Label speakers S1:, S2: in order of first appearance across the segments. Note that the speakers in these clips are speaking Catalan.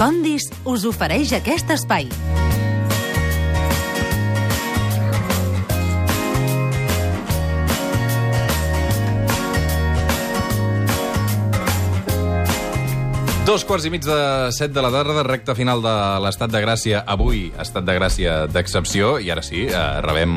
S1: Condis us ofereix aquest espai.
S2: Dos quarts i mig de set de la tarda, recta final de l'estat de gràcia. Avui, estat de gràcia d'excepció. I ara sí, eh, rebem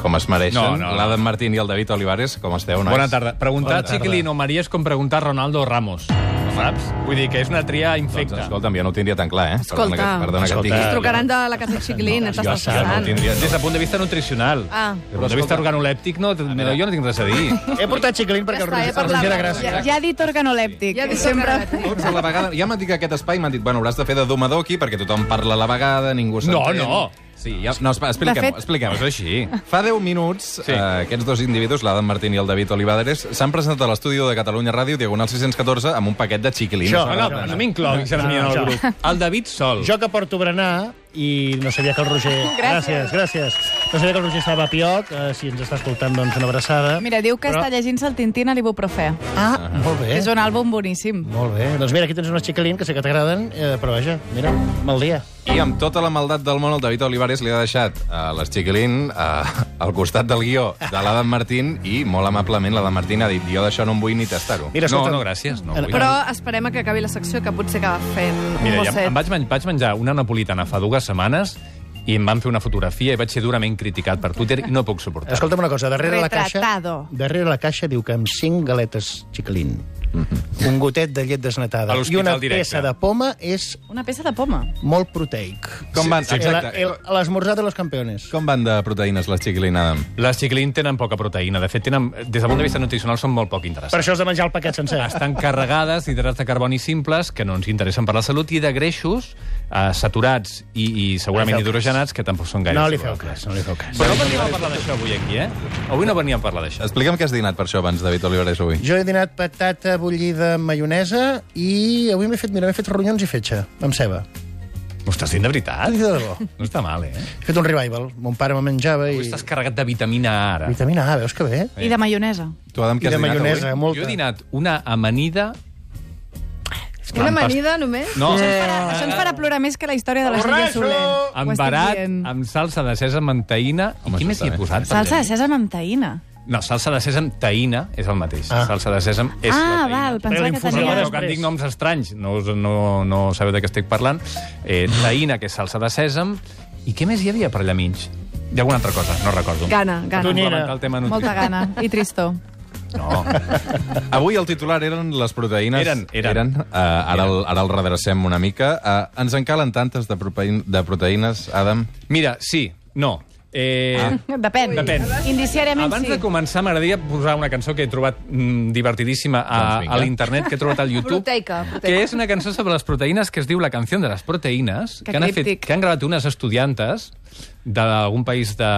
S2: com es mereixen
S3: No, no, no.
S2: l'Adam Martín i el David Olivares. Com esteu, nois?
S3: Bona tarda. Preguntar
S2: Bona
S3: a
S2: tarda.
S3: Chiquilino Maria és com preguntar a Ronaldo Ramos. Saps? Vull dir que és una tria
S2: Doncs,
S3: infecta.
S2: escolta'm, jo no ho tindria tan clar, eh?
S4: Escolta.
S2: Perdona que, perdona que et
S5: Escolta,
S2: digui.
S4: Ens trucaran de la casa de Xiclin, ens
S2: Jo,
S4: estàs
S2: jo no ho
S4: passant.
S2: tindria...
S3: Des del punt de vista nutricional.
S4: Ah.
S3: Des del punt de vista organolèptic, no, no, jo no tinc res a dir.
S5: He portat xiclin perquè el
S4: Ja està, he
S5: Roger- el
S4: parlat.
S5: Roger era
S6: Ja,
S5: gràcia.
S6: ja ha dit organolèptic.
S4: Ja
S6: Ja
S4: dic
S6: Sempre...
S4: sempre...
S2: Tots a la vegada. Ja m'han dit que aquest espai m'han dit, bueno, hauràs de fer de domador aquí perquè tothom parla a la vegada, ningú s'entén.
S3: no.
S2: Sí, ja, no, espa- expliquem-ho,
S6: De fet-
S2: expliquem-ho.
S3: No és així.
S2: Fa 10 minuts, sí.
S3: Sí.
S2: eh, aquests dos individus, l'Adam Martín i el David Olivares, s'han presentat a l'estudi de Catalunya Ràdio, Diagonal 614, amb un paquet de xiquilins.
S5: Això,
S3: No, no, no, no m'incloguis ara a mi en el
S5: Jo.
S3: grup. El David Sol.
S5: Jo que porto berenar i no sabia que el Roger... Gràcies, gràcies. No sabia que el Roger estava a Pioc. Eh, si ens està escoltant, doncs una abraçada.
S6: Mira, diu que
S5: Però-
S6: està llegint-se el Tintín a l'ibuprofè,
S5: Ah, molt
S6: que
S3: Eh?
S5: bé.
S6: és un àlbum boníssim.
S5: Molt bé. Doncs mira, aquí tens unes xiclin que sé que t'agraden, eh, però vaja, mira, mal dia.
S2: I amb tota la maldat del món, el David Olivares li ha deixat a les Chiquilín eh, al costat del guió de l'Adam Martín i, molt amablement, l'Adam Martín ha dit jo d'això no en vull ni tastar-ho.
S5: Mira,
S3: No,
S5: escolta,
S3: no, gràcies. No, vull.
S4: Però esperem a que acabi la secció, que potser acaba fent un
S3: Mira, ja
S4: mosset.
S3: em vaig, men- vaig menjar una napolitana fa dues setmanes i em van fer una fotografia i vaig ser durament criticat per Twitter i no puc suportar.
S5: Escolta'm una cosa, darrere la caixa...
S6: Retratado.
S5: Darrere la caixa diu que amb cinc galetes xiclin,
S2: Mhm.
S5: un gotet de llet desnatada
S3: A
S5: i
S3: l'hospital
S5: una
S3: directe.
S5: peça de poma és
S6: Una peça de poma.
S5: molt proteic.
S2: Com van,
S5: El-
S2: exacte.
S5: el- L'esmorzar de los campeones.
S2: Com van de proteïnes les Chiquilín, Adam?
S3: Les xiclin tenen poca proteïna. De fet, tenen, des del punt de vista nutricional són molt poc
S5: Per
S3: interessants.
S5: això has de menjar el paquet sencer.
S3: Estan carregades d'hidrats de carboni simples que no ens interessen per la salut i de greixos eh, saturats i, i segurament
S5: No li feu
S3: hidrogenats que tampoc són gaire
S5: No li feu
S3: saludables.
S5: cas, no li feu cas.
S3: Però no veníem a parlar d'això avui aquí, eh? Avui no veníem a parlar d'això.
S2: Explica'm què has dinat per això abans, David Olivares, avui.
S5: Jo he dinat patata bullida amb maionesa i avui m'he fet, mira, m'he fet ronyons i fetge, amb ceba.
S3: M'ho estàs dient de
S5: Ah,
S3: veritat?
S5: de debò.
S3: No està mal, eh?
S5: He fet un revival. Mon pare me menjava i...
S3: Avui estàs carregat de vitamina A, ara.
S5: Vitamina A, veus que bé?
S3: Eh.
S6: I de maionesa.
S2: Tu, Adam,
S5: I
S2: què has
S5: de
S2: dinat
S5: maionesa,
S2: avui?
S5: molta.
S3: Jo he dinat una amanida...
S4: Una amanida, només?
S3: No,
S6: Això ens farà plorar més que la història de la Sílvia
S5: Borratxo!
S6: Soler. Ho
S3: amb
S6: estic
S3: barat,
S6: dient.
S3: amb salsa de sèsam amb taïna...
S2: Home, això
S3: I qui més hi
S2: està
S3: he
S2: bé.
S3: posat?
S6: Salsa de sèsam amb taïna.
S3: No, salsa de sèsam, taïna, és el mateix.
S5: Ah.
S3: Salsa de sèsam és la
S6: Ah,
S3: taïna.
S6: val, pensava que
S5: l'infus
S3: Però,
S5: de
S6: tenia...
S3: però
S5: després.
S3: quan dic noms estranys, no, us- no, no sabeu de què estic parlant. Eh, taïna, que és salsa de sèsam. I què més hi havia per allà mig? Hi ha alguna altra cosa? No recordo.
S4: Gana, gana.
S5: Tonyina.
S3: Complementar el tema
S6: Molta
S3: nutricional.
S6: gana i tristor.
S3: No.
S2: Avui el titular eren les proteïnes.
S3: Eren, eren.
S2: eren. Uh, ara, el, ara el redrecem una mica. Uh, ens en calen tantes de, proteïn, de proteïnes, Adam?
S3: Mira, sí, no. Eh,
S6: Ah. Depèn.
S3: Depèn.
S6: Indiciàriament
S3: Abans
S6: sí.
S3: de començar, m'agradaria posar una cançó que he trobat mm, divertidíssima a,
S2: Doncs vinga.
S3: a l'internet, que he trobat al YouTube.
S4: Proteica, proteica.
S3: Que és una cançó sobre les proteïnes que es diu La canció de les proteïnes,
S6: Que
S3: han,
S6: críptic.
S3: que han gravat unes estudiantes d'algun país de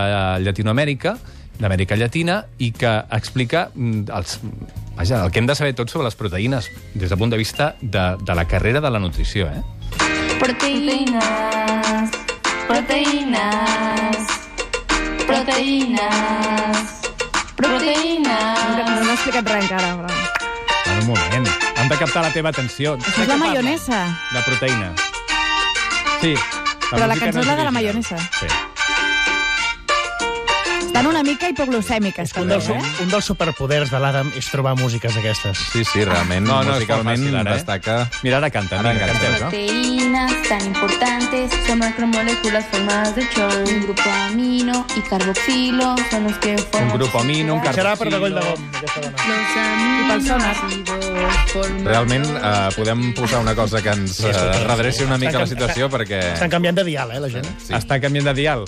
S3: Llatinoamèrica, d'Amèrica Llatina, i que explica mm, els, vaja, el que hem de saber tots sobre les proteïnes des del punt de vista de, de la carrera de la nutrició. Eh?
S7: Proteínas, proteínas, proteínas,
S4: No,
S7: proteínas.
S4: no he explicat res encara, però...
S3: En un moment. Han de captar la teva atenció.
S6: Això és la maionesa.
S3: La proteïna. Sí.
S6: Però la
S3: música
S6: cançó
S3: no
S6: és la de la
S3: original.
S6: maionesa.
S3: Sí.
S6: Estan una mica hipoglucèmiques,
S5: Un
S6: també,
S5: dels,
S6: eh?
S5: un dels superpoders de l'Adam és trobar músiques d'aquestes.
S2: Sí, sí, realment,
S3: No, no, és
S2: musicalment
S3: molt fàcil, ara, eh?
S2: destaca...
S3: Mira, ara canta.
S2: Ara
S3: Ara
S2: canta,
S3: canta.
S2: no?
S7: Proteínas tan importantes son macromoléculas formadas de chol. Un grupo amino y carboxilo son los que forman.
S3: Un grupo amino, un
S5: Serà
S3: carboxilo...
S5: per de goll de gom, aquesta dona.
S7: Los aminoácidos forman.
S2: Realment, eh, podem posar una cosa que ens eh,
S5: escolta,
S2: redreci una
S5: escolta.
S2: mica la
S5: Estan-
S2: situació, perquè...
S5: Estan canviant de dial, eh, la gent.
S2: Sí.
S3: Sí. Està canviant de dial.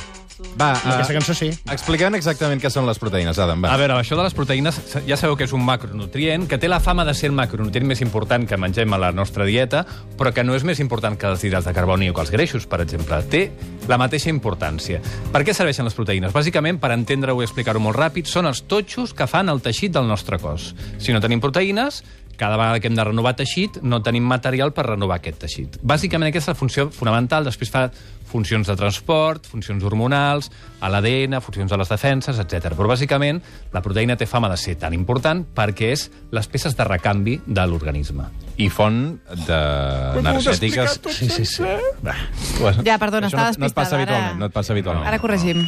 S2: Va,
S3: Ah.
S5: Amb Aquesta
S2: eh,
S5: cançó sí.
S2: expliquem exactament què són les proteïnes, Adam, va.
S3: A veure, això de les proteïnes, ja sabeu que és un macronutrient, que té la fama de ser el macronutrient més important que mengem a la nostra dieta, però que no és més important que els hidrats de carboni o que els greixos, per exemple. Té la mateixa importància. Per què serveixen les proteïnes? Bàsicament, per entendre-ho i explicar-ho molt ràpid, són els totxos que fan el teixit del nostre cos. Si no tenim proteïnes, cada vegada que hem de renovar teixit no tenim material per renovar aquest teixit. Bàsicament aquesta és la funció fonamental, després fa funcions de transport, funcions hormonals, a l'ADN, funcions de les defenses, etc. Però bàsicament la proteïna té fama de ser tan important perquè és les peces de recanvi de l'organisme.
S2: I font d'energètiques... Sí, sí, sí.
S6: Ja, perdona,
S2: Això no,
S6: estava
S2: no et passa
S6: despistada, ara-
S2: habitualment. No et passa habitualment.
S4: Ara corregim.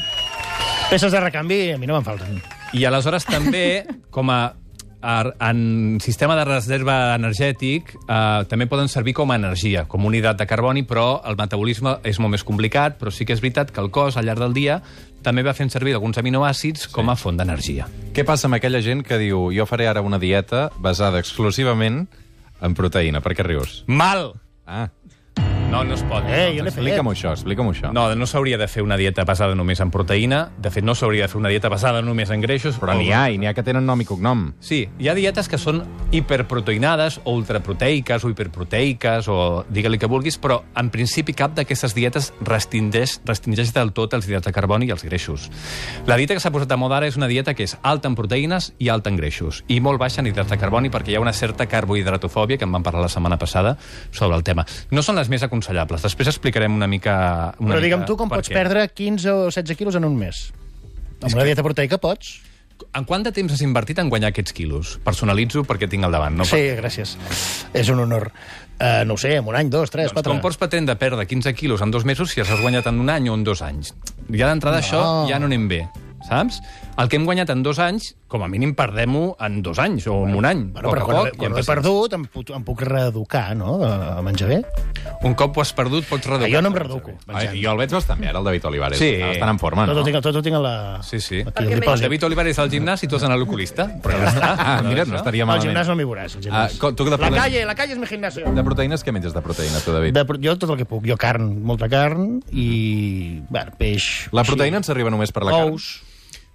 S5: Peces de recanvi a mi no me'n falten.
S3: I aleshores també, com a, a en sistema de reserva energètic, eh, també poden servir com a energia, com un hidrat de carboni, però el metabolisme és molt més complicat, però sí que és veritat que el cos, al llarg del dia, també va fent servir alguns aminoàcids com a font d'energia.
S2: Què passa amb aquella gent que diu jo faré ara una dieta basada exclusivament en proteïna? Per què rius?
S3: Mal!
S2: Ah,
S3: No, no es pot.
S5: Eh, jo l'he fet.
S2: explica'm això, explica'm això.
S3: No, no s'hauria de fer una dieta basada només en proteïna. De fet, no s'hauria de fer una dieta basada només en greixos.
S2: Però n'hi ha, i n'hi ha que tenen nom i cognom.
S3: Sí, hi ha dietes que són hiperproteïnades o ultraproteiques o hiperproteiques o digue-li que vulguis, però en principi cap d'aquestes dietes restringeix, restringeix del tot els hidrats de carboni i els greixos. La dieta que s'ha posat a moda ara és una dieta que és alta en proteïnes i alta en greixos i molt baixa en hidrats de carboni perquè hi ha una certa carbohidratofòbia que en vam parlar la setmana passada sobre el tema. No són les més aconsellables. Després explicarem una mica... Una
S5: Però
S3: mica
S5: digue'm tu com
S3: per
S5: pots
S3: què.
S5: perdre 15 o 16 quilos en un mes. Amb una dieta proteica pots.
S3: En quant de temps has invertit en guanyar aquests quilos? Personalitzo perquè tinc al davant, no?
S5: Sí, gràcies. És un honor. Uh, no ho sé, en un any, dos, tres,
S3: Doncs
S5: quatre...
S3: com pots pretendre perdre 15 quilos en dos mesos si els has guanyat en un any o en dos anys? Ja d'entrada no. això ja no anem bé, saps? El que hem guanyat en dos anys, com a mínim perdem-ho en dos anys o en un any.
S5: Bueno,
S3: poc
S5: però
S3: a
S5: quan,
S3: poc, i
S5: quan
S3: en
S5: ho he
S3: pacient.
S5: perdut em, puc- em puc reeducar, no?, a a menjar bé.
S3: Un cop ho has perdut, pots reduir.
S5: Ah, jo no em reduco,
S2: Ai,
S5: menjant.
S2: jo el veig bastant bé, ara, el David Olivares.
S3: Sí.
S2: Estan en forma,
S5: Tot
S2: no?
S5: ho tinc, tot ho tinc a la...
S3: Sí, sí.
S5: Aquí, al
S3: El
S5: dipòsit.
S3: David Oliver és al gimnàs i tu has d'anar a l'oculista. Però ja està.
S2: Ah, mira, no estaria
S5: Al
S2: malament.
S5: gimnàs no m'hi veuràs. al
S2: Ah,
S5: gimnàs.
S2: co- tu que de
S5: la
S2: problema-
S5: calle, la calle és mi gimnasio.
S2: De proteïnes, què menges de proteïnes, tu, David?
S5: De, pro- jo tot el que puc. Jo carn, molta carn i bueno, peix.
S2: La proteïna ens arriba només per la carn.
S5: Ous.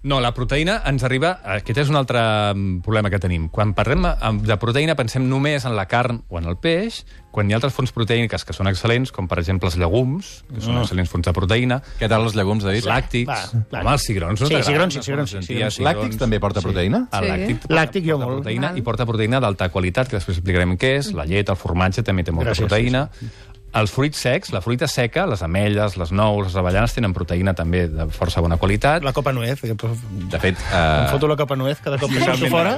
S3: No, la proteïna ens arriba... Aquest és un altre mm, problema que tenim. Quan parlem eh, de proteïna pensem només en la carn o en el peix, quan hi ha altres fonts proteïniques que són excel·lents, com per exemple els llegums, que són excel·lents fonts de proteïna,
S2: Què tal els llegums, David?
S3: els làctics...
S5: Ah. Va, va.
S3: Home, els cigrons, no
S5: Sí,
S3: t'agraden?
S5: cigrons,
S3: Les
S5: sí, cigrons, sí, doncs,
S3: fonts
S5: cigrons.
S3: d'antia,
S2: Làctics també porta proteïna?
S3: El
S4: Sí.
S3: làctic
S5: Làctic jo
S3: porta
S5: molt.
S3: proteïna i porta proteïna d'alta qualitat, que després explicarem què és. La llet, el formatge també té molta
S5: Gràcies,
S3: proteïna. Els fruits secs, la fruita seca, les ametlles, les nous, les avellanes tenen proteïna també de força bona qualitat.
S5: La copa nuez. que-
S2: De fet,
S5: Em
S2: eh,
S5: foto la copa nuez cada cop que surto fora.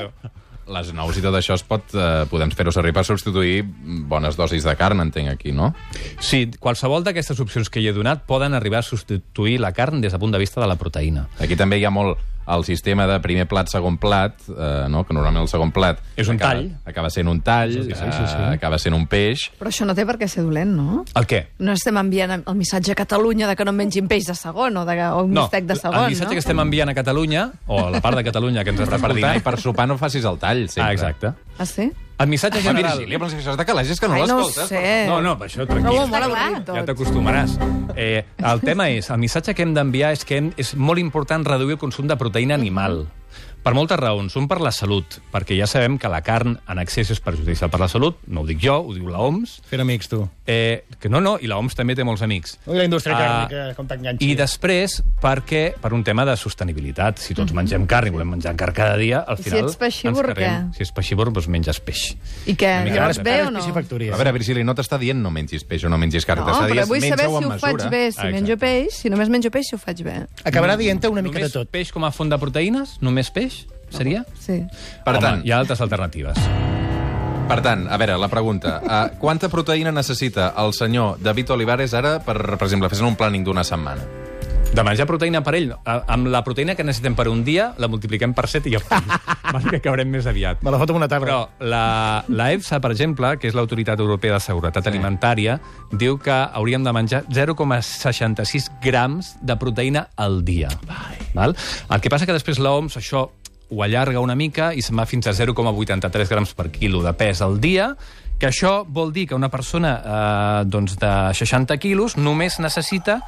S2: les nous i tot això es pot, eh, podem fer-ho servir per substituir bones dosis de carn, entenc, aquí, no?
S3: Sí, qualsevol d'aquestes opcions que hi he donat poden arribar a substituir la carn des del punt de vista de la proteïna.
S2: Aquí també hi ha molt el sistema de primer plat, segon plat, eh, no? que normalment el segon plat...
S3: És un
S2: acaba,
S3: tall.
S2: Acaba sent un tall,
S3: Sí, sí, sí, sí.
S2: Eh, acaba sent un peix...
S4: Però això no té per què ser dolent, no?
S3: El què?
S4: No estem enviant el missatge a Catalunya de que no mengin peix de segon o, de, o un bistec de segon,
S3: el missatge
S4: no?
S3: que estem enviant a Catalunya, o a la part de Catalunya que ens està
S2: Per dinar i
S3: escoltant...
S2: per sopar no facis el tall, sempre.
S3: Ah, exacte.
S4: Ah, sí?
S3: El missatge
S2: La
S3: general...
S2: Virgília, però si això és de calaix, és que no
S4: Ai, no ho
S2: l'escoltes.
S4: sé.
S3: No, no, per això,
S4: Trobo
S3: tranquil.
S4: molt avorrit Eh. tot.
S3: Ja t'acostumaràs. Eh, el tema és, el missatge que hem d'enviar és que hem, és molt important reduir el consum de proteïna animal. Per moltes raons. Un, per la salut, perquè ja sabem que la carn en excés és perjudicial per la salut, no ho dic jo, ho diu la OMS,
S5: Fent amics, tu.
S3: Eh, que no, no, i la OMS també té molts amics.
S5: Ui, la
S3: Ah,
S5: indústria càrnica, com t'enganxi.
S3: I després, perquè, per un tema de sostenibilitat. Si
S5: Mhm.
S3: tots mengem carn i volem menjar carn cada dia, al
S4: I si
S3: final...
S4: ets peixívor,
S3: ens carreguem-
S4: què?
S3: Si ets peixívor, doncs menges peix.
S4: I què?
S3: Una mica
S4: Llavors
S3: de
S4: bé
S5: Ara
S4: o no?
S5: és piscifactoria.
S2: A veure, Virgili, no t'està dient no mengis peix o no mengis carn.
S4: No,
S2: t'està
S4: però
S2: dient,
S4: vull saber
S2: menja-ho
S4: si
S2: en
S4: ho faig
S2: mesura.
S4: bé, si
S3: Ah, exacte.
S4: menjo peix, si només menjo peix, si ho faig bé.
S5: Acabarà dient una mica
S3: Només
S5: de tot.
S3: peix com a font de proteïnes? Només peix? Seria?
S4: Sí.
S2: Per
S3: Home,
S2: tant,
S3: hi ha altres alternatives.
S2: per tant, a veure, la pregunta. Uh, quanta proteïna necessita el senyor David Olivares ara per, per exemple, fer un planning d'una setmana?
S3: De menjar proteïna per ell, a- amb la proteïna que necessitem per un dia, la multipliquem per 7 i ja Mal que cabrem més aviat.
S5: Me la foto amb una tarda.
S3: Però la, la EFSA, per exemple, que és l'Autoritat Europea de Seguretat Alimentària, diu que hauríem de menjar 0,66 grams de proteïna al dia. Val? El que passa que després l'OMS això ho allarga una mica i se'n va fins a 0,83 grams per quilo de pes al dia, que això vol dir que una persona eh, doncs de 60 quilos només necessita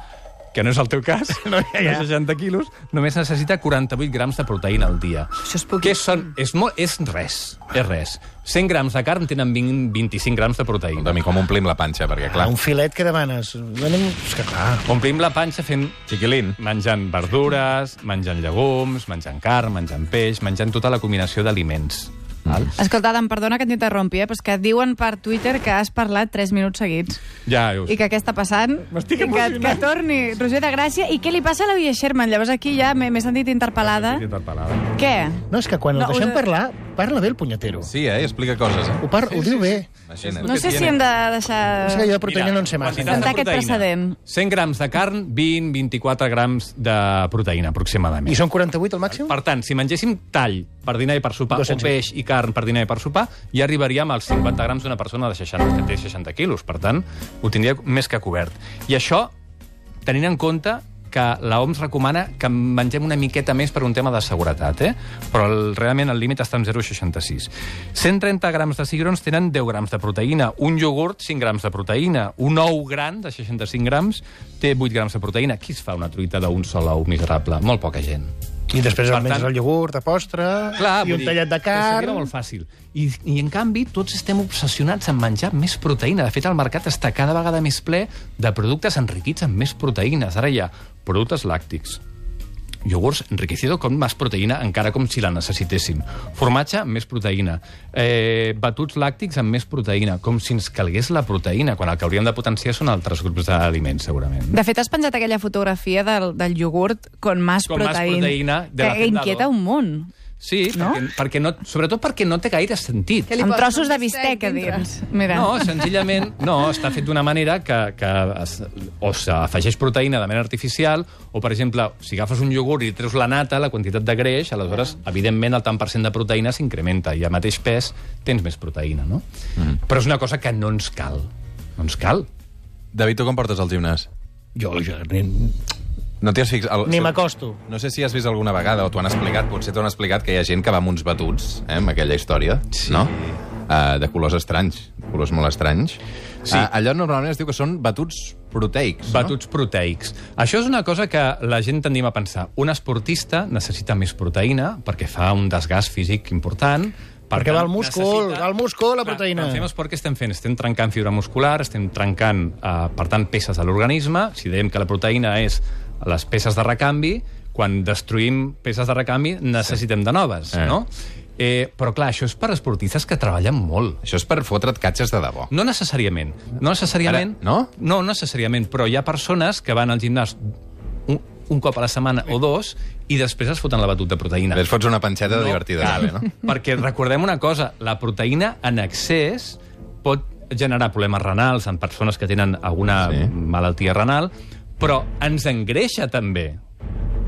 S3: que no és el teu cas, no, ja, ja. de 60 quilos, només necessita 48 grams de proteïna al dia.
S4: Això és poquíssim.
S3: Què són? És, molt, és res, és res. 100 grams de carn tenen 20, 25 grams de proteïna.
S2: Escolta'm, i Doncs com omplim la panxa, perquè, clar...
S5: Ah, un filet que demanes. Anem... És que clar.
S3: Omplim la panxa fent
S2: Chiquilín.
S3: menjant verdures, menjant llegums, menjant carn, menjant peix, menjant tota la combinació d'aliments.
S2: Val?
S6: Escolta, Adam, perdona que t'interrompi, eh, però és que diuen per Twitter que has parlat 3 minuts seguits.
S3: Ja, jo...
S6: I que què està passant?
S3: M'estic
S6: I que, que
S3: emocionant.
S6: torni Roger de Gràcia. I què li passa a la Via Sherman? Llavors aquí ja m'he m'he sentit interpel·lada.
S3: Interpel·lada.
S6: Què?
S5: No, és que quan
S6: No,
S5: el deixem
S6: us-
S5: parlar, parla bé el punyetero.
S2: Sí, eh? Explica coses, eh?
S5: Ho, par... ho diu bé.
S2: Imagina't.
S6: No sé si hem de deixar...
S5: És que jo de proteïna no en sé massa.
S3: quantitat de
S6: Sentar aquest
S3: proteïna.
S6: precedent.
S3: 100 grams de carn, 20-24 grams de proteïna, aproximadament.
S5: I són 48 al màxim?
S3: Per tant, si mengéssim tall per dinar i per sopar,
S5: 200.
S3: o peix i carn per dinar i per sopar, ja arribaríem als 50 grams d'una persona de 60, que té 60 quilos. Per tant, ho tindria més que cobert. I això, tenint en compte que la OMS recomana que mengem una miqueta més per un tema de seguretat, eh? però el, realment el límit està en 0,66. 130 grams de cigrons tenen 10 grams de proteïna, un iogurt 5 grams de proteïna, un ou gran de 65 grams té 8 grams de proteïna. Qui es fa una truita d'un sol ou miserable? Molt poca gent.
S5: I després
S3: Per
S5: el menges
S3: tant-
S5: el iogurt, de postre,
S3: Clar,
S5: i
S3: vull
S5: un
S3: dir,
S5: tallat de
S3: que Era
S5: carn...
S3: molt fàcil. I, I, en canvi, tots estem obsessionats en menjar més proteïna. De fet, el mercat està cada vegada més ple de productes enriquits amb més proteïnes. Ara hi ha productes làctics, iogurts enriquecido con más proteïna, encara com si la necessitéssim. Formatge amb més proteïna. Eh, batuts làctics amb més proteïna, com si ens calgués la proteïna, quan el que hauríem de potenciar són altres grups d'aliments, segurament.
S6: De fet, has penjat aquella fotografia del, del iogurt con más
S3: Con más
S6: proteïna,
S3: proteína de la
S6: que
S3: Hacendado.
S6: inquieta un munt.
S3: Sí,
S6: No?
S3: perquè, perquè no, sobretot perquè no té gaire sentit.
S6: Amb trossos de bistec a dins. Mira.
S3: No, senzillament, no, està fet d'una manera que, que es, o s'afegeix proteïna de manera artificial, o, per exemple, si agafes un iogurt i li treus la nata, la quantitat de greix, aleshores,
S5: Ah.
S3: evidentment, el tant per cent de proteïna s'incrementa, i a mateix pes tens més proteïna, no? Mm. Però és una cosa que no ens cal. No ens cal.
S2: David, tu com portes al gimnàs?
S5: Jo, jo ni,
S2: No t'hi has fixat? El...
S5: ni m'acosto.
S2: No sé si has vist alguna vegada, o t'ho han explicat, potser t'ho han explicat, que hi ha gent que va amb uns batuts, eh, amb aquella història, sí. no? Uh, de colors estranys, de colors molt estranys. Sí. Uh, allò normalment es diu que són batuts proteics,
S3: Batuts proteics. Això és una cosa que la gent tendim a pensar. Un esportista necessita més proteïna perquè fa un desgast físic important. per
S5: Perquè va
S3: tant,
S5: al múscul, va al múscul, la
S3: Clar,
S5: proteïna.
S3: Quan fem esport, què estem fent? Estem trencant fibra muscular, estem trencant, eh, per tant, peces de l'organisme. Si diem que la proteïna és les peces de recanvi, quan destruïm peces de recanvi necessitem de noves,
S2: Eh.
S3: no? Eh, però clar, això és per esportistes que treballen molt.
S2: no? Això és per fotre't catxes de debò.
S3: No necessàriament. No necessàriament.
S2: Ara, no?
S3: No, no necessàriament, però hi ha persones que van al gimnàs un, un cop a la setmana o dos i després es foten la batuta de proteïna.
S2: Les fots una panxeta no. divertida,
S3: cal,
S2: també, no?
S3: Perquè recordem una cosa, la proteïna en excés pot generar problemes renals en persones que tenen alguna
S2: Sí.
S3: sí. malaltia renal, però ens engreixa també,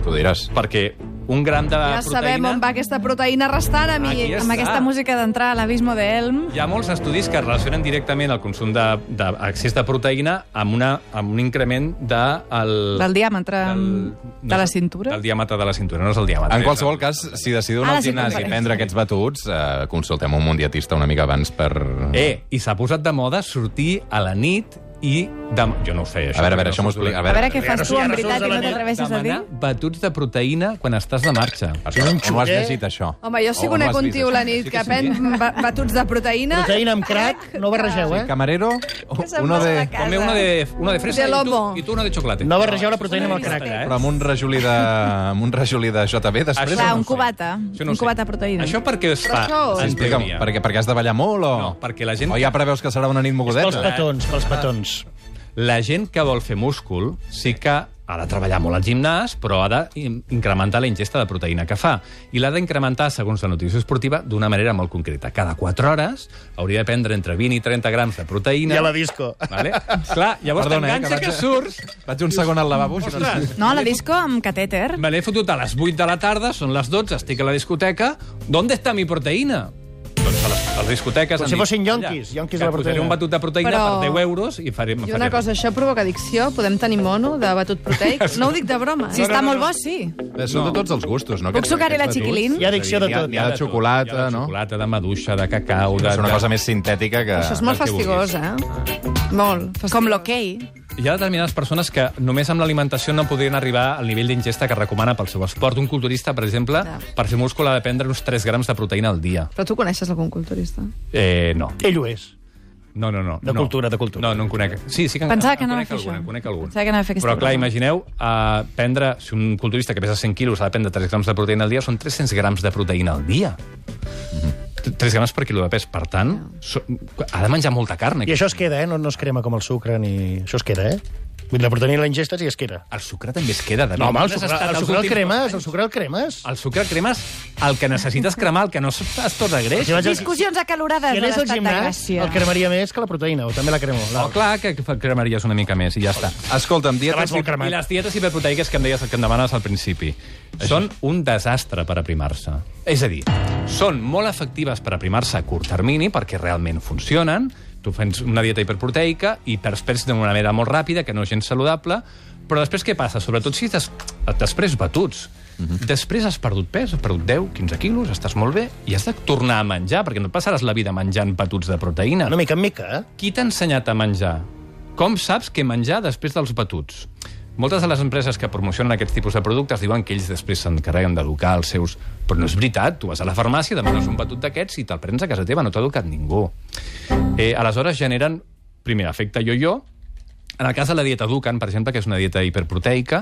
S2: Tu diràs.
S3: perquè un gram de
S6: Ja
S3: proteïna...
S6: sabem on va aquesta proteïna restant,
S3: Aquí
S6: amic.
S3: està.
S6: Amb aquesta música d'entrar a l'abismo d'Elm.
S3: Hi ha molts estudis que relacionen directament el consum de- d'excés de, de proteïna amb, una, amb un increment de, el,
S6: Del diàmetre mm, de la
S3: sé,
S6: cintura?
S3: Del diàmetre de la cintura, no és el diàmetre.
S2: En qualsevol cas, si decidiu anar
S6: Ara
S8: Ah,
S2: al
S6: sí,
S2: gimnàs i
S6: compareix.
S2: prendre aquests batuts, eh, consultem un mundiatista una mica abans per...
S3: Eh, i s'ha posat de moda sortir a la nit i... De... Jo no ho feia, això.
S2: a veure, a veure,
S3: No
S2: això m'ho
S3: s'ho
S2: explica.
S6: A veure què
S5: Ja no
S6: fas
S5: sé,
S6: tu,
S5: ja
S6: en
S5: no
S6: veritat,
S5: surts
S6: i
S5: a la
S6: no
S5: nit.
S6: t'atreveixes a dir.
S3: Demanar batuts de proteïna quan estàs de marxa.
S2: Això, on ho has
S5: xurrer.
S2: llegit, això?
S8: Home, jo sí
S2: O
S8: que ho
S2: ho
S8: n'he
S2: has vist,
S8: contiu
S2: això?
S8: la nit,
S2: Sí
S8: que
S2: sí.
S8: pren ba- batuts de proteïna.
S5: Proteïna
S6: eh,
S5: amb crack, no barregeu, eh?
S2: Camarero,
S8: se'n
S2: uno
S8: passa
S2: de...
S8: la cara.
S3: Come una de, una de fresa
S8: De
S3: i, tu,
S8: lomo.
S3: i tu una de xocolate.
S5: No barregeu la proteïna amb el crac.
S3: Espera, eh?
S2: Però amb un rajolí de, amb un rajolí de JB després...
S3: Això
S6: Clar,
S3: no
S6: un
S3: ho sé.
S6: cubata.
S3: Això
S6: Un
S3: ho sé.
S6: cubata de proteïna.
S3: Això perquè es fa,
S8: això on?
S3: en
S2: Explica'm,
S3: teoria.
S2: perquè, perquè has de ballar molt o...
S3: No, perquè la gent-
S2: O ja preveus que serà una nit
S5: Pels
S3: eh?
S2: mogudeta?
S5: petons, pels petons.
S3: La gent que vol fer múscul sí que ha de treballar molt al gimnàs, però ha d'incrementar la ingesta de proteïna que fa. I l'ha d'incrementar, segons la nutrició esportiva, d'una manera molt concreta. Cada 4 hores hauria de prendre entre 20 i 30 grams de proteïna.
S5: I a la disco.
S3: Vale? Clar, llavors
S2: Perdona, eh,
S3: t'enganxa
S2: que
S3: que,
S2: vaig-
S3: surts...
S2: Vaig un segon al lavabo. si no-
S3: Ostres,
S6: No, la disco amb catèter.
S3: me l'he fotut a les 8 de la tarda, són les 12, estic a la discoteca, d'on està mi proteïna? Doncs a les, a les discoteques...
S5: Com
S3: han
S5: si
S3: dit,
S5: fossin
S3: "Mira,
S5: yonquis, yonquis
S3: que
S5: de la
S3: posaré
S5: proteïna."
S3: un batut de proteïna
S8: Però-
S3: per 10 euros i faré...
S8: I una cosa, això provoca addicció? Podem tenir mono de batut proteic? No ho dic de broma.
S6: Si
S8: eh?
S6: està molt bo, sí.
S2: Bé, Eh, Són de tots els gustos, no?
S6: Puc
S2: Aquests-
S6: sucar-hi la
S2: aquests batuts.
S6: xiquilín?
S5: Hi ha addicció de
S2: N'hi ha-
S5: tot.
S2: N'hi ha de xocolata,
S3: hi ha de
S2: no?
S3: xocolata, de maduixa, de cacau... De,
S2: És una cosa
S3: de...
S2: més sintètica que...
S8: Això és molt
S3: el que vulguis.
S8: fastigós, eh? Molt. Fastigós.
S6: Com l'hoquei.
S3: Hi ha determinades persones que només amb l'alimentació no podrien arribar al nivell d'ingesta que recomana pel seu esport. Un culturista, per exemple,
S8: Ja.
S3: per fer múscul ha de prendre uns 3 grams de proteïna al dia.
S8: Però tu coneixes algun culturista?
S3: Eh, no.
S5: Ell ho és.
S3: No, no, no.
S5: De
S3: no.
S5: cultura, de cultura.
S3: No, no en conec. Sí, sí que en,
S6: Pensava
S3: en
S6: que anava a
S3: conec
S6: fer
S3: algun,
S6: això.
S3: en conec algun.
S6: Pensava que anava a fer aquesta
S3: Però clar,
S6: broma.
S3: imagineu, uh, prendre, si un culturista que pesa 100 quilos ha de prendre 3 grams de proteïna al dia, són 300 grams de proteïna al dia.
S5: Mm-hmm.
S3: 3 grams per quilo de pes. Per tant, so, ha de menjar molta carn.
S5: I això es queda, eh? No, no es crema com el sucre ni... Això es queda, eh? Vull dir, la proteïna la ingestes i es queda.
S3: El sucre també es queda. De
S5: No, home, el
S3: Has
S5: sucre,
S3: estat
S5: el
S3: els
S5: sucre el
S3: últims
S5: cremes,
S3: dos
S5: el
S3: anys.
S5: sucre el cremes.
S3: El sucre el cremes, el que necessites cremar, el que no es, es tot de greix.
S5: Si vaig al-
S6: Discussions acalorades
S5: si
S6: de
S5: anés al
S6: l'estat de
S5: gimnàs,
S6: Gràcia.
S5: el cremaria més que la proteïna, o també la cremo. La...
S3: Oh, clar, que que cremaries una mica més i ja està.
S2: Escolta'm,
S5: Abans
S2: dietes...
S5: molt cremat.
S3: I les dietes hiperproteiques que em deies que em demanes al principi són un desastre per aprimar-se. És a dir, són molt efectives per aprimar-se a curt termini perquè realment funcionen. Tu fens una dieta hiperproteica i perds pes d'una manera molt ràpida, que no és gens saludable, però després què passa? Sobretot si t'has després batuts.
S5: Mhm.
S3: Després has perdut pes, has perdut 10, 15 quilos, estàs molt bé, i has de tornar a menjar, perquè no et passaràs la vida menjant batuts de proteïna.
S5: Una mica en mica, eh?
S3: Qui t'ha ensenyat a menjar? Com saps què menjar després dels batuts? Moltes de les empreses que promocionen aquests tipus de productes diuen que ells després s'encarreguen d'educar els seus... Però no és veritat, tu vas a la farmàcia, demanes un batut d'aquests i te'l prens a casa teva, no t'ha educat ningú. Eh, aleshores generen, primer, efecte jo-jo, en el cas de la dieta Dukan, per exemple, que és una dieta hiperproteica,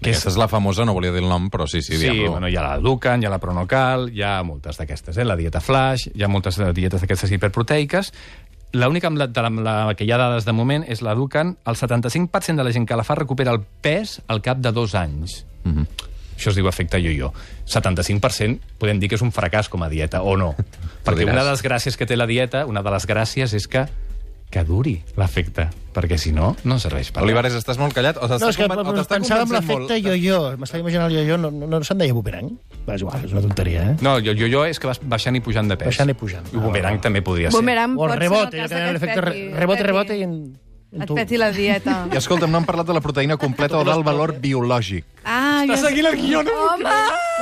S3: que és
S2: Aquesta és la famosa, no volia dir el nom, però sí, sí,
S3: Sí,
S2: diguem-lo.
S3: bueno, hi ha la Dukan, hi ha la Pronocal, hi ha moltes d'aquestes, eh? la dieta flash, hi ha moltes de- dietes d'aquestes hiperproteiques. L'única amb la, de la, amb la que hi ha dades de moment és la Dukan. El 75% de la gent que la fa recupera el pes al cap de dos anys. Mm -hmm. Això es diu efecte yo-yo. 75% podem dir que és un fracàs com a dieta, o no. Perquè
S2: diràs.
S3: una de les gràcies que té la dieta, una de les gràcies és que que duri l'efecte, perquè si no, no serveix per res.
S2: Olivares, estàs molt callat o t'estàs
S5: No, és que
S2: conven- o t'està
S5: pensava en
S2: convencent
S5: l'efecte
S2: molt?
S5: jo-jo. M'estava imaginant el jo-jo. No, no, no se'n deia bumerang? Va, és igual, és una tonteria, eh?
S3: No, el yo-yo és que vas baixant i pujant de pes.
S5: Baixant i pujant.
S3: I bumerang també podria ser.
S8: Bumerang
S5: O el
S8: pot ser
S5: rebote,
S8: el
S5: allò
S8: cas
S5: que deia
S8: que et
S5: l'efecte
S8: peti-
S5: re- eh. rebote,
S8: peti-
S5: rebote i en, en
S8: Et
S5: tu.
S8: peti la dieta.
S2: I escolta'm, no hem parlat de la proteïna completa o del valor biològic.
S6: Ah, jo...
S3: seguint el guió, no?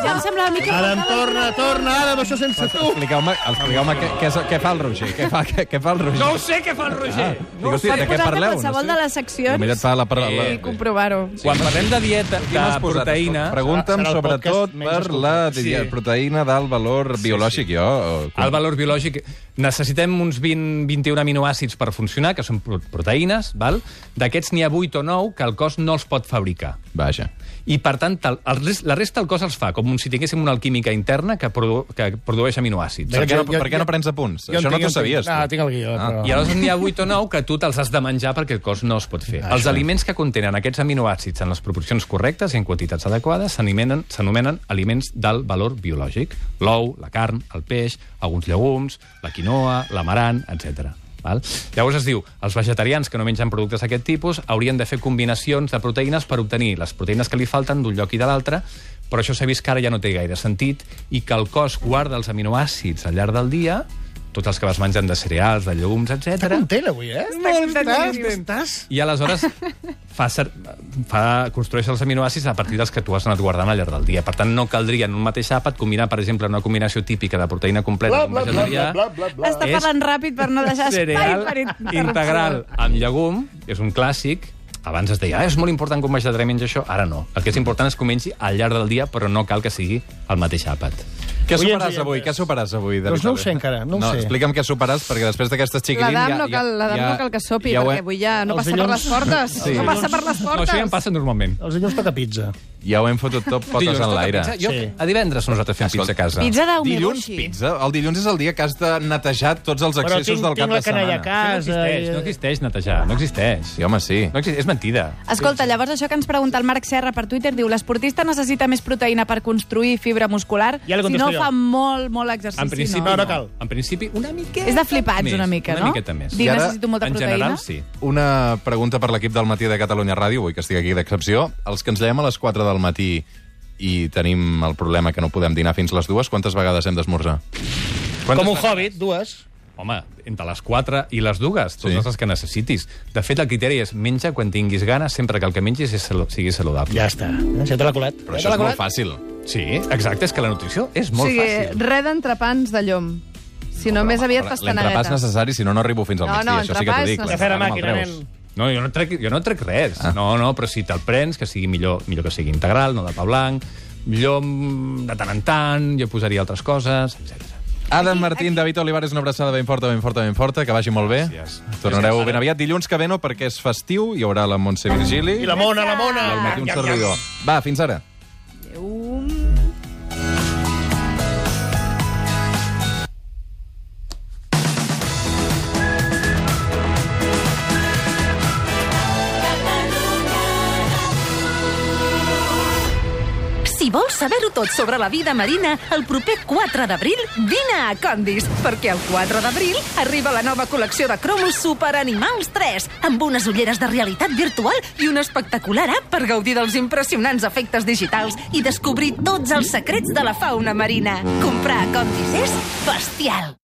S6: ja em sembla una mica...
S5: Adam, torna, torna, Adam, això sense tu.
S2: Expliqueu-me expliqueu què, què, és- què fa el Roger. Què fa, què, què fa el Roger?
S3: No ho sé què fa el Roger.
S2: Dic, hòstia, de què
S6: Posar-te
S2: parleu?
S6: qualsevol de les seccions
S2: Mira, et fa la, per- la,
S6: i comprovar-ho.
S3: Quan parlem de dieta, de proteïna...
S2: Pregunta'm
S5: Serà el podcast
S2: sobretot
S5: menys
S2: per
S5: escoltat.
S2: la di-
S3: Sí.
S2: proteïna del valor biològic. Jo, eh,
S3: El valor biològic... Necessitem uns 20, 21 aminoàcids per funcionar, que són pro- proteïnes, val? D'aquests n'hi ha 8 o 9 que el cos no els pot fabricar.
S2: Vaja.
S3: I, per tant, tal- el, res- la resta el cos els fa, com si tinguéssim una alquímica interna que, produ, que produeix aminoàcids.
S2: Per què, no,
S5: jo- jo-
S2: per què no prens apunts?
S5: Jo en
S2: Això no
S5: tinc,
S2: t'ho
S5: en tinc.
S2: sabies,
S5: Ah,
S2: tu.
S5: tinc el guió,
S2: Ah.
S5: però...
S3: I aleshores n'hi ha 8 o 9 que tu te'ls has de menjar perquè el cos no es pot fer. Els aliments que contenen aquests aminoàcids en les proporcions correctes i en quantitats adequades s'anomenen s'anomenen aliments del valor biològic. L'ou, la carn, el peix, alguns llegums, la quinoa, l'amarant, etc. Val? Llavors es diu, els vegetarians que no mengen productes d'aquest tipus haurien de fer combinacions de proteïnes per obtenir les proteïnes que li falten d'un lloc i de l'altre, però això s'ha vist que ara ja no té gaire sentit i que el cos guarda els aminoàcids al llarg del dia tots els que vas menjant de cereals, de llums,
S5: Està
S3: etc.
S5: content avui, eh?
S6: Molt
S5: Estàs,
S6: bé.
S5: estàs...
S3: I aleshores fa, ser, fa construeix els aminoàcids a partir dels que tu has anat guardant al llarg del dia. Per tant, no caldria en un mateix àpat combinar, per exemple, una combinació típica de proteïna completa amb vegetarià,
S6: Està
S3: És
S6: parlant ràpid per no deixar espai
S3: cereal
S6: per interrupció.
S3: integral amb llegum, és un clàssic, abans es deia, ah, és molt important que un vegetarià mengi això, ara no. El que és important és que ho mengi al llarg del dia, però no cal que sigui el mateix àpat.
S2: Què
S5: Avui ens
S2: soparàs
S5: veiem
S2: avui?
S5: més.
S2: Què soparàs avui?
S5: Doncs no
S2: veritat?
S5: ho sé encara, no ho sé.
S2: Explica'm què soparàs, perquè després d'aquestes xiquilins...
S8: L'Adam no, cal, l'Adam no cal que sopi,
S2: ho he-
S8: perquè avui ja no
S5: Els
S8: passa per les
S5: dilluns-
S8: portes.
S2: Sí.
S8: No passa per les
S3: No,
S8: portes.
S3: això ja em passa normalment.
S5: Els dilluns toca pizza.
S2: Ja ho hem fotut tot potes
S3: Dilluns
S2: en
S3: toca
S2: l'aire.
S3: pizza. Jo,
S5: Sí.
S3: A divendres nosaltres fem pizza a casa.
S6: Pizza
S2: Dilluns,
S6: d'umeboshi.
S2: pizza. El dilluns és el dia que has de netejar tots els
S5: Però
S2: excessos
S5: tinc,
S2: del cap
S5: tinc la
S2: de
S5: canalla
S2: setmana.
S5: a
S3: No
S5: casa.
S3: existeix, no existeix netejar, no existeix.
S2: Sí, home, sí.
S3: No existeix, és mentida.
S6: Escolta, llavors això que ens pregunta el Marc Serra per Twitter diu l'esportista necessita més proteïna per construir fibra muscular
S5: Ja li
S6: si
S5: contesto
S6: no
S5: jo.
S6: fa molt, molt exercici.
S3: En principi,
S5: no, no cal.
S3: En principi, una miqueta
S6: És de flipats
S3: més,
S6: una mica,
S3: una
S6: no?
S3: miqueta més.
S6: Dir,
S2: I ara,
S6: necessito molta
S3: en
S6: proteïna.
S3: general, sí.
S2: Una pregunta per l'equip del matí de Catalunya Ràdio, avui que estic aquí d'excepció. Els que ens llevem a les 4 del matí i tenim el problema que no podem dinar fins les dues, quantes vegades hem d'esmorzar?
S5: Com un hobbit, dues.
S3: Home, entre les 4 i les dues, totes
S2: Sí.
S3: les que necessitis. De fet, el criteri és menja quan tinguis gana, sempre que el que mengis és salu- sigui saludable.
S5: Ja està. eh? Ja te l'ha colat.
S2: Però
S5: Ja
S2: això
S5: te l'ha
S2: és molt
S5: colat.
S2: fàcil.
S3: Sí, exacte, és que la nutrició és
S8: O
S3: molt
S8: sigui,
S3: fàcil.
S8: res d'entrepans de llom. Si no, més aviat
S2: L'entrepàs
S8: pastanagueta.
S2: necessari, si no, no arribo fins al
S8: No,
S2: migdia.
S8: no,
S2: això sí que t'ho
S8: entrepàs
S2: dic.
S8: necessari.
S5: Cafè a la
S2: l'entrepà no me'l
S5: màquina,
S2: treus.
S5: nen.
S3: No, jo no trec, jo no trec res. Ah. No, no, però si te'l prens, que sigui millor, millor que sigui integral, no de pa blanc, llom de tant en tant, jo posaria altres coses, etc.
S2: Adam Martín, David Olivares, una abraçada ben forta, ben forta, ben forta, que vagi molt bé.
S3: Gràcies.
S2: Tornareu ben aviat dilluns que ve, no, perquè és festiu, hi haurà la Montse Virgili.
S5: I la mona, la mona.
S2: Al matí un servidor. Va, fins ara.
S1: saber-ho tot sobre la vida marina, el proper 4 d'abril vine a Condis, perquè el 4 d'abril arriba la nova col·lecció de cromos Superanimals 3, amb unes ulleres de realitat virtual i un espectacular app per gaudir dels impressionants efectes digitals i descobrir tots els secrets de la fauna marina. Comprar a Condis és bestial!